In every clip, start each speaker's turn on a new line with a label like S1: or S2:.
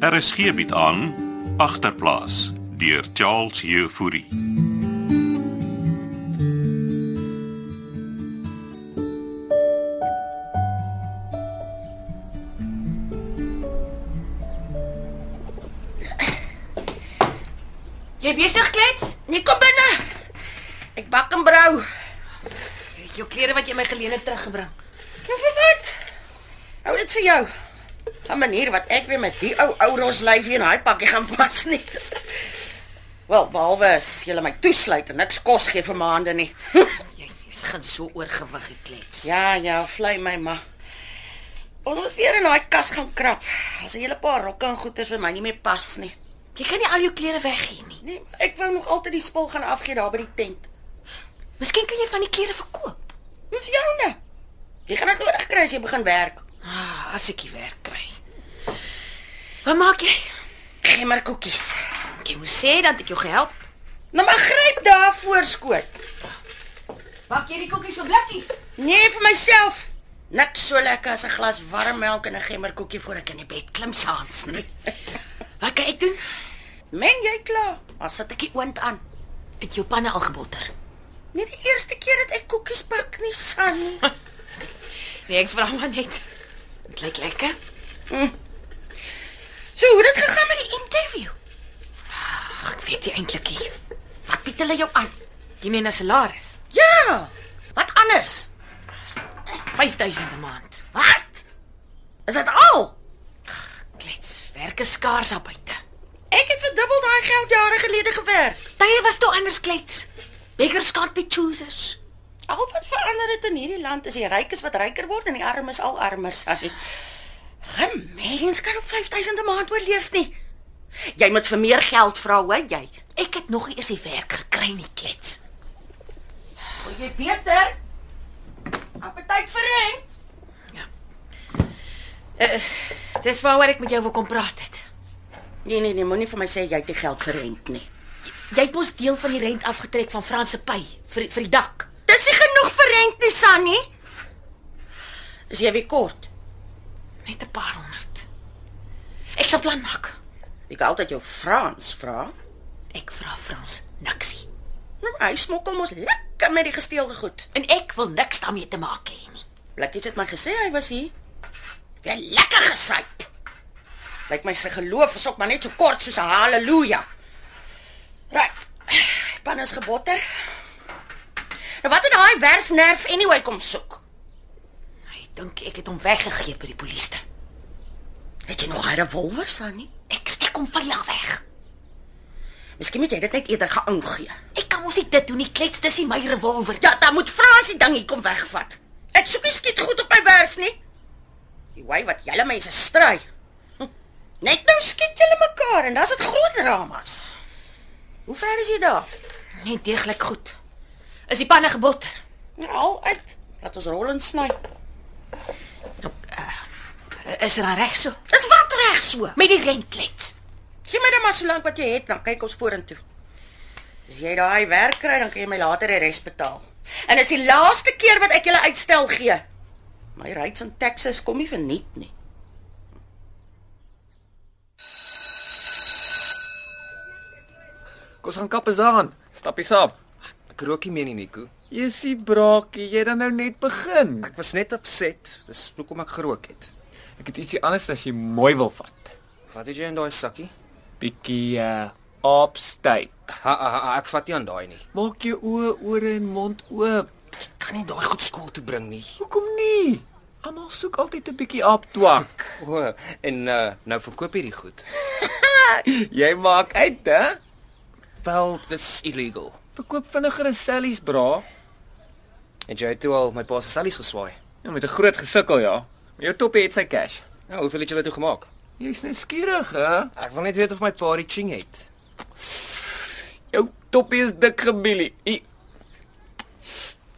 S1: RSG bied Er aan agterplaas deur Charles Jefouri.
S2: Jy besig klets?
S3: Nee, kom binne. Ek bak en brou.
S2: Jy het jou klere wat jy my geleen het teruggebring.
S3: Nou vir wat? Hou dit vir jou. Gaan manier wat ek weer met die ou ou ros lyfie en daai pakkie gaan pas nie. Wel, behalwe as jy my toesluit en niks kos gee vir maande nie.
S2: Jy is gaan so oorgewig geklets.
S3: ja, ja, vlei my ma. Ons moet weer in daai kas gaan krap. As 'n hele paar rokke en goeders vir my nie meer pas nie.
S2: Jy kan nie al jou klere weggee nie.
S3: Nee, ek wou nog altyd die spul gaan afgee daar by die tent.
S2: Miskien kan jy van die klere verkoop.
S3: Dis joune. Jy gaan dit nodig kry as jy begin werk.
S2: Ah, as ek die werk kry. Wat maak jy?
S3: Gee maar koekies.
S2: Jy moet sê dat ek jou gehelp.
S3: Nou maar gryp daarvoor skoot.
S2: Bak jy die koekies vir blikkies?
S3: Nee vir myself. Niks so lekker as 'n glas warm melk en 'n gemmerkoekie voor ek in die bed klim saans nie.
S2: Wat kan ek doen?
S3: Men jy klaar? Maar sit ek die oond aan.
S2: Ek jou panne al gebotter.
S3: Nie die eerste keer dat ek koekies bak nie, San.
S2: Nee, ek vra maar net. Dit lyk lekker.
S3: So, hoe het dit gegaan met die
S2: Interview. Ag, ek weet nie eintlik nie. Wat bied hulle jou aan? Jy meen 'n salaris?
S3: Ja. Wat anders?
S2: 5000 'n maand.
S3: Wat? Is dit al?
S2: Klets, werk is skaars daar buite.
S3: Ek het vir dubbel daai geld jare gelede gewerk.
S2: Tye was toe anders klets. Beggars can't be choosers.
S3: Al wat verander het in hierdie land is die rykes wat ryker word en die armes al armer sy. Geen mens kan op 5000 'n maand oorleef nie. Jy moet vir meer geld vra, hoor jy?
S2: Ek het nog nie eers die werk gekry nie, klets.
S3: Wil jy beter? Appetit vir rent.
S2: Ja. Eh, Dis waaroor ek met jou wou kom praat het.
S3: Nee nee nee, moenie vir my sê jy het nie geld vir rent nie.
S2: Jy het mos deel van die rent afgetrek van Frans se pay vir vir die dak.
S3: Dis nie genoeg vir rent nie, Sannie. Is jy weer kort?
S2: Net 'n paar honderd. Ek sal plan maak.
S3: Ek hou altyd jou Frans vra.
S2: Ek vra Frans niksie.
S3: Nou, hy smokkel mos lekker met die gesteelde goed.
S2: En ek wil niks daarmee te maak hê nie.
S3: Blikkies het my gesê hy was hier. Jy lekker gesyp. Lyk my sy geloof is ook maar net so kort soos 'n haleluja. Right. Pan is gebotter. Nou wat het daai werfnerf anyway kom soek?
S2: Hy dink ek het hom weggegee by die polisie.
S3: Het jy nog 'n revolver, Sannie?
S2: Ek steek hom veilig weg.
S3: Miskien moet jy dit net eerder gaan ingee.
S2: Ek kan mos nie dit doen nie, klets, dis nie my revolver.
S3: Ja, dan moet Frans die ding hier kom wegvat. Ek soek nie skiet goed op my werf nie. Die wy wat julle mense stry. Hm, Net nou skiet julle mekaar en dan's dit groot dramas. Hoe ver is jy daar?
S2: Net Nee, deeglik goed. Is die panne gebotter?
S3: Nou, al uit. Laat ons rol en sny.
S2: Eh, Is dit dan reg so?
S3: Dis wat reg so.
S2: Met die rentklets.
S3: Gee my dan maar so lank wat jy het, dan kyk ons vorentoe. As jy daai werk kry, dan kan jy my later die res betaal. En dis die laaste keer wat ek julle uitstel gee. My rights in Texas kom nie verniet nie.
S4: Kom ons gaan kappes aan. Stappie saap.
S5: Ek rook nie meer nie, Nico.
S4: Jessie braakie, jy het dan nou net begin.
S5: Ek was net opset. Dis hoekom ek gerook het.
S4: Ek het ietsie anders as jy mooi wil vat.
S5: Wat het jy in daai sakkie?
S4: Bietjie uh opstyp.
S5: Ha, ha, ha, ek vat nie aan daai nie.
S4: Maak jou oë, ore en mond oop.
S5: Ek kan nie daai goed skool toe bring nie.
S4: Hoekom nie? Almal soek altyd 'n bietjie aptwak.
S5: O, en uh, nou verkoop hierdie goed.
S4: jy maak uit, hè?
S5: Wel, dis illegal.
S4: Verkoop vinniger as sellies, bra.
S5: Het jy toe al my pa se sellies geswaai?
S4: Ja, met 'n groot gesukkel, ja. Jou toppie het sy cash.
S5: Nou, hoeveel het jy toe gemaak?
S4: Jy's net skierig, hè?
S5: Ek wil net weet of my pa die ching het.
S4: Jou toppie is dik gebilie. Ie.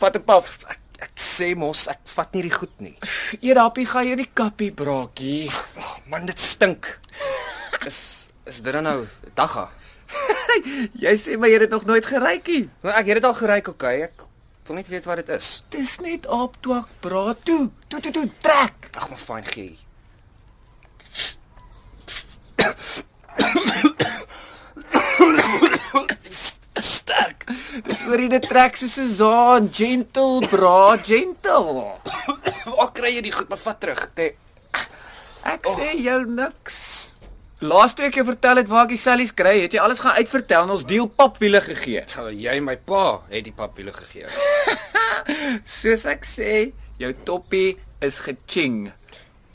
S4: Vat 'n paf.
S5: Ek, ek sê mos, ek vat nie die goed nie.
S4: Eet happie, gaan jy nie kappie braakie.
S5: Oh, man, dit stink. Is is dit dan nou dagga?
S4: Jy sê maar jy het dit nog nooit geryk nie.
S5: Nou ek het dit al geryk, okay. Ek wil net weet wat dit is.
S4: Dis net aaptwak bra toe. Toe toe toe trek.
S5: Ag, maar fyn gee.
S4: Sterk. Dis oor die trek soos 'n zaan, gentle bra, gentle.
S5: Waar kry jy die goed maar vat terug? Te,
S4: Ek sê jou niks. Laasweek ek jou vertel het waar ek die sellies kry, het jy alles gaan uitvertel en ons deel papwiele gegee.
S5: Tel jy my pa het die papwiele gegee.
S4: Soos ek sê, jou toppie is geching.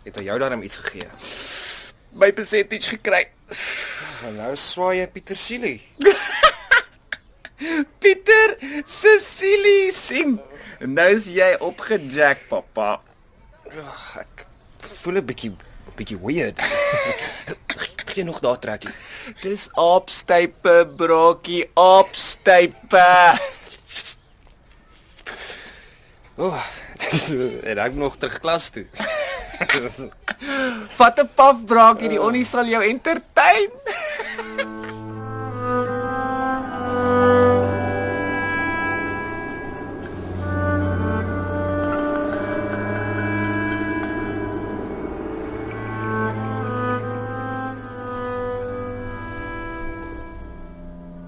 S5: Het hy jou daarom iets gegee?
S4: My percentage gekry.
S5: En nou swaai jy Pieter Silie.
S4: Pieter, Cecilie sien. Nou is jy opgejack, pappa.
S5: Ek voel 'n bietjie bietjie weird. Gee jy nog daar trekkie.
S4: Dis aapstype brokkie, aapstype.
S5: O, oh, en ek moet nog terug klas toe.
S4: Vat 'n paf brokkie, die onnie sal jou entertain.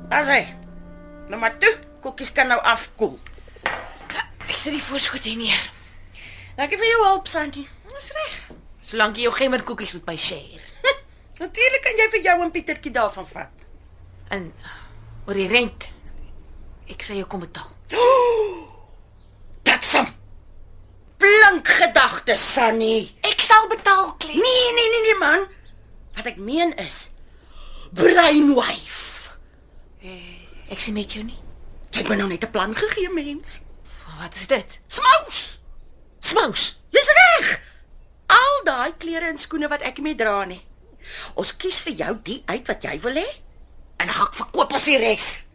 S3: As hy. Nou maar toe, koekies kan nou afkoel.
S2: Ek sit die voorskoot hier neer.
S3: Dankie vir jou hulp, Santi.
S2: Dis reg. Solank jy jou gemmerkoekies met my share.
S3: Natuurlik kan jy vir jou en Pietertjie daarvan vat.
S2: En oor die rent. Ek sê jou kom betaal.
S3: Dit som. Blink gedagte, Sunny.
S2: Ek sal betaal, Klee.
S3: Nee, nee, nee, nee man. Wat ek meen is brainwave.
S2: Ek sien met jou nie.
S3: Jy het my nou net 'n plan gegee, mens.
S2: Wat is dit?
S3: Smous.
S2: Smous.
S3: Dis reg. Al daai klere en skoene wat ek nie meer dra nie. Ons kies vir jou die uit wat jy wil hê en dan gaan ek verkoop ons die res.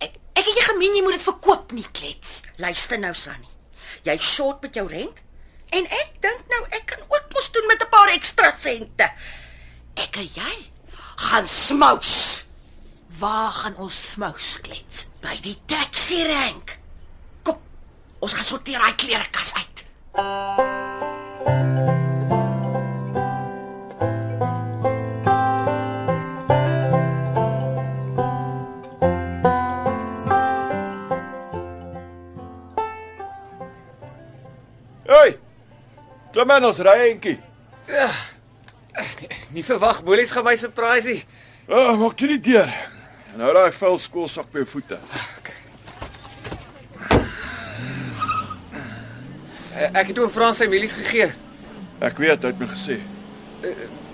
S2: Ek ek het jy gemeen jy moet dit verkoop nie, klets.
S3: Luister nou, Sunny. Jy short met jou rent en ek dink nou ek kan ook mos doen met 'n paar ekstra sente. Ek en jy gaan smous
S2: Waar gaan ons smous, klets?
S3: by die taxi rank. Kom. Ons gaan sorteer daai klerekas uit.
S6: Hey! Klim in ons ry eentjie.
S4: Nie verwag Molies gaan my surprise nie.
S6: O, oh, maak jy nie deur. En hou daai Nou vuil skoolsak by jou voete.
S4: Eh, Ek het oom Frans sy mielies gegee.
S6: Ek weet, hy het my gesê.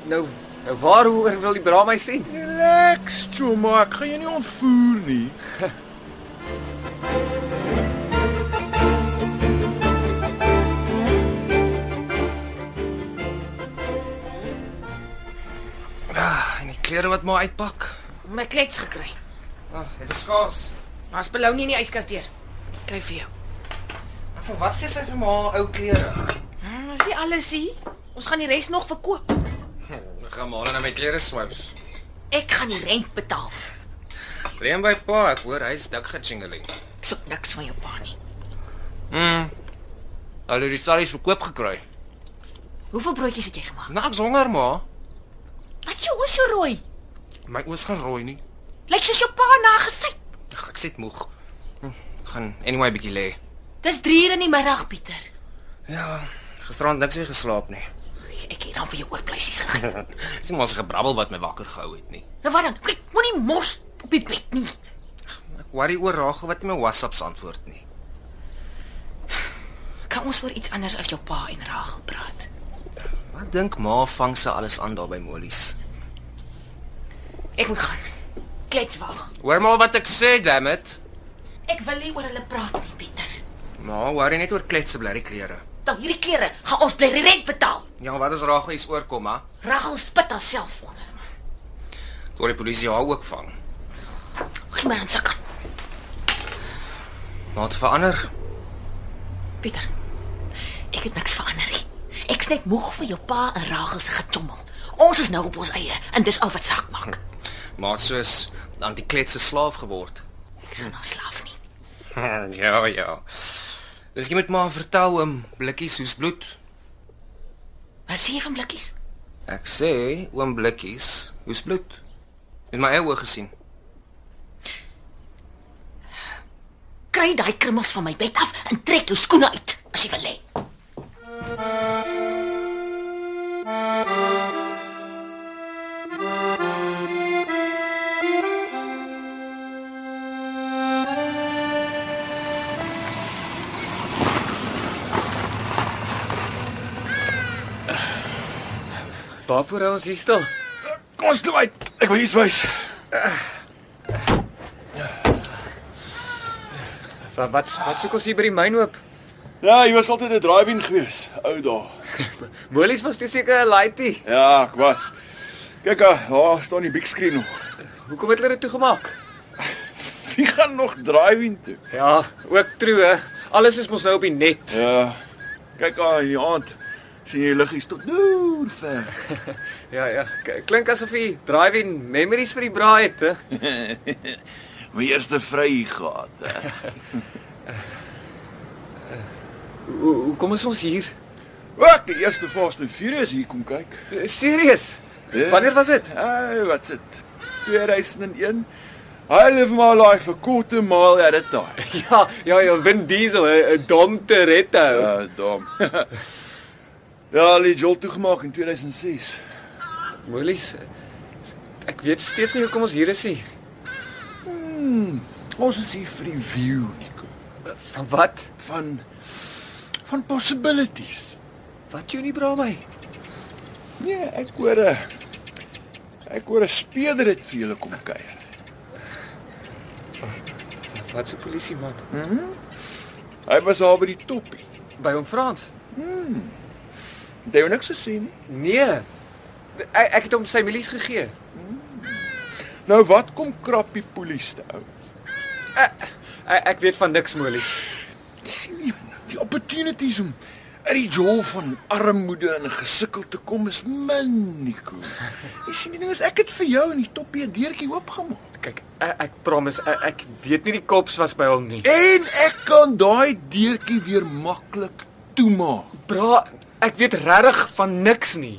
S4: Nou, nou waaroor wil die bra my sien?
S6: Relax, choma, ek gaan jou nie ontvoer nie.
S5: Ah, En die klere wat maar uitpak.
S2: My klets gekry.
S5: Ag, oh, dit is skaars.
S2: Maar as belou nie in die yskas deur. Ek Kry vir jou.
S5: Maar vir wat gee sy vir my ou klere?
S2: Hmm, is nie alles hier. Ons gaan die res nog verkoop.
S5: Ek gaan maar net my klere swous.
S2: Ek gaan die rent betaal.
S5: Leen by pa, ek hoor hy's dik gejingeling.
S2: Ek soek niks van jou pa nie.
S5: Mm. Hulle het die salis verkoop gekry.
S2: Hoeveel broodjies het jy gemaak?
S5: Nou ek's honger maar.
S2: Wat jou oë so rooi?
S5: My oë gaan rooi nie.
S2: Lyk soos jou pa na gesyp.
S5: Ag, ek sit moeg. Hm, Ek gaan anyway bietjie lê.
S2: Dis 3 uur in die middag, Pieter.
S5: Ja, gisterand niks meer geslaap nie.
S2: Ek het dan vir jou oorpleisies gegee.
S5: Dis nie maar 'n gebrabbel wat my wakker gehou het nie.
S2: Nou wat dan? Kyk, moenie mors op die bed nie.
S5: Ek worry oor Rachel wat nie my WhatsApps antwoord nie.
S2: Kan ons oor iets anders as jou pa en Rachel praat?
S5: Wat dink ma vang sy alles aan daar by Mollies?
S2: Ek moet gaan. Klets wag.
S5: Hoor maar wat ek sê, damn it.
S2: Ek wil nie oor hulle praat nie, Pieter.
S5: Ma worry net oor kletse blerrie klere.
S2: Dan hierdie klere gaan ons bly die rent betaal.
S5: Ja, wat as Rachel iets oorkom, hè?
S2: Rachel spit haarself onder.
S5: Toe die polisie haar ook vang.
S2: Gee my 'n sak aan.
S5: Maar het verander.
S2: Pieter. Ek het niks verander nie. Ek's net moeg vir jou pa en Rachel se gechommel. Ons is nou op ons eie en dis al wat saak maak.
S5: Maar het soos aan die kletse slaaf geword.
S2: Ek gaan haar slaaf nie.
S5: ja, ja. Dis jy moet maar vertel oom Blikkies hoe's bloed.
S2: Wat sê jy van blikkies?
S5: Ek sê oom Blikkies, hoe's bloed? Met my eie oë gesien.
S2: Kry daai krummels van my bed af en trek jou skoene uit as jy wil lê.
S4: Waarvoor hou ons hier stil?
S6: Kom ons klim uit. Ek wil iets wys.
S4: Wat wat, wat soek ons hier by die mynhoop?
S6: Ja, jy was altyd 'n drive-in gewees, ou dae.
S4: Molies was toe seker 'n laaitie.
S6: Ja, ek was. Kyk, ah, daar staan die big screen nog.
S4: Hoekom het hulle dit toegemaak?
S6: Wie gaan nog drive-in toe?
S4: Ja, ook true. hè. Alles is mos nou op die net.
S6: Ja. Kyk daar in die aand sien jy liggies tot nou ver.
S4: Ja ja, k- klink asof jy driving memories vir die braai het, hè?
S6: My eerste vry gehad. hè.
S4: Hoe hoe kom ons ons hier?
S6: Ook die eerste Fast and Furious hier kom kyk.
S4: Eh, Serius?
S6: Ja.
S4: Wanneer was dit?
S6: Ai, wat sit? 2001. I live my life a quarter mile at a time.
S4: Ja, ja, ja, Vin Diesel, 'n- 'n dom Toretto.
S6: Ja, dom. ja, hulle het jol toegemaak in 2006.
S4: Molies. eh, Ek weet steeds nie hoekom ons hier is nie.
S6: Ons is hier vir die view, Nico,
S4: Van wat?
S6: van van possibilities.
S4: Wat jy nie bra my.
S6: Nee, ek hoor 'n ek hoor 'n speeder het vir julle kom kuier.
S4: Wat se polisie man?
S6: Hy was al by die toppie.
S4: By hom Frans.
S6: Het jy niks gesien nie?
S4: Nee. Ek, ek het hom sy milies gegee.
S6: Nou wat kom krappie polisie te ou?
S4: Ek, ek weet van niks Molies.
S6: sien jy die opportunities om uit die jol van armoede en gesukkel te kom is min, Nico. Jy sien die ding is ek het vir jou in die toppie 'n deurtjie oopgemaak.
S4: Kyk, ek, ek promise ek, ek weet nie die kops was by hom nie.
S6: En ek kan daai deurtjie weer maklik toemaak.
S4: Bra, ek weet regtig van niks nie.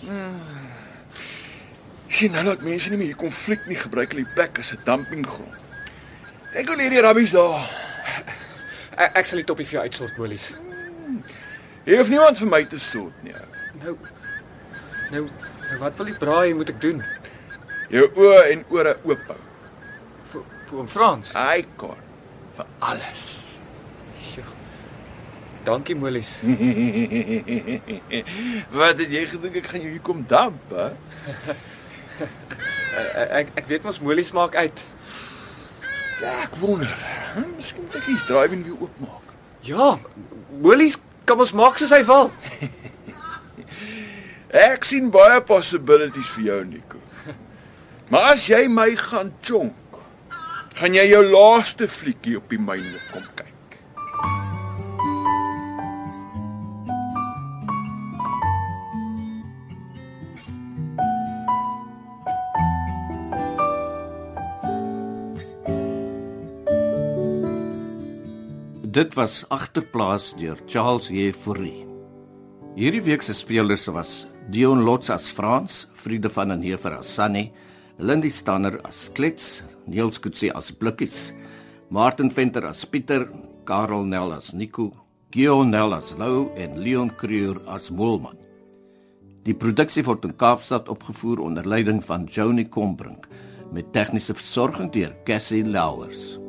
S6: Sien nou dat mense nie meer hier konflik nie gebruik hulle die plek as 'n dumpinggrond. Ek wil hierdie rabbies daar.
S4: Ek, ek sal dit op die vir jou uitsort Molies.
S6: Hier hoef niemand vir my te sort nie. ou.
S4: Nou nou, nou wat wil die braai moet ek doen?
S6: Jou oë en ore oop hou.
S4: Vir vir hom Frans.
S6: Hy kan vir alles.
S4: Sjoe. Dankie Molies.
S6: Wat het jy gedink ek gaan jou hier kom damp, hè?
S4: Eh, Ek ek weet mos molies maak uit.
S6: Ja, ek wonder. Hè? Miskien moet ek die driving wheel oopmaak.
S4: Ja, molies kan ons maak soos hy wil.
S6: Ek sien baie possibilities vir jou, Nico. Maar as jy my gaan chonk, gaan jy jou laaste fliekkie op die myne kom kyk.
S7: Dit was agterplaas deur Charles Jefouri. Hierdie week se spelers was Dion Lots as Frans, Friede van den Heever as Sunny, Lindy Stanner as Klets, Niels Kutse as Blikkies, Martin Venter as Pieter, Karel Nel as Nico, Gion Nel as Lou en Leon Creur as Moelman. Die produksie word in Kaapstad opgevoer onder leiding van Johnny Combrink met tegniese versorging deur Cassie Louwers.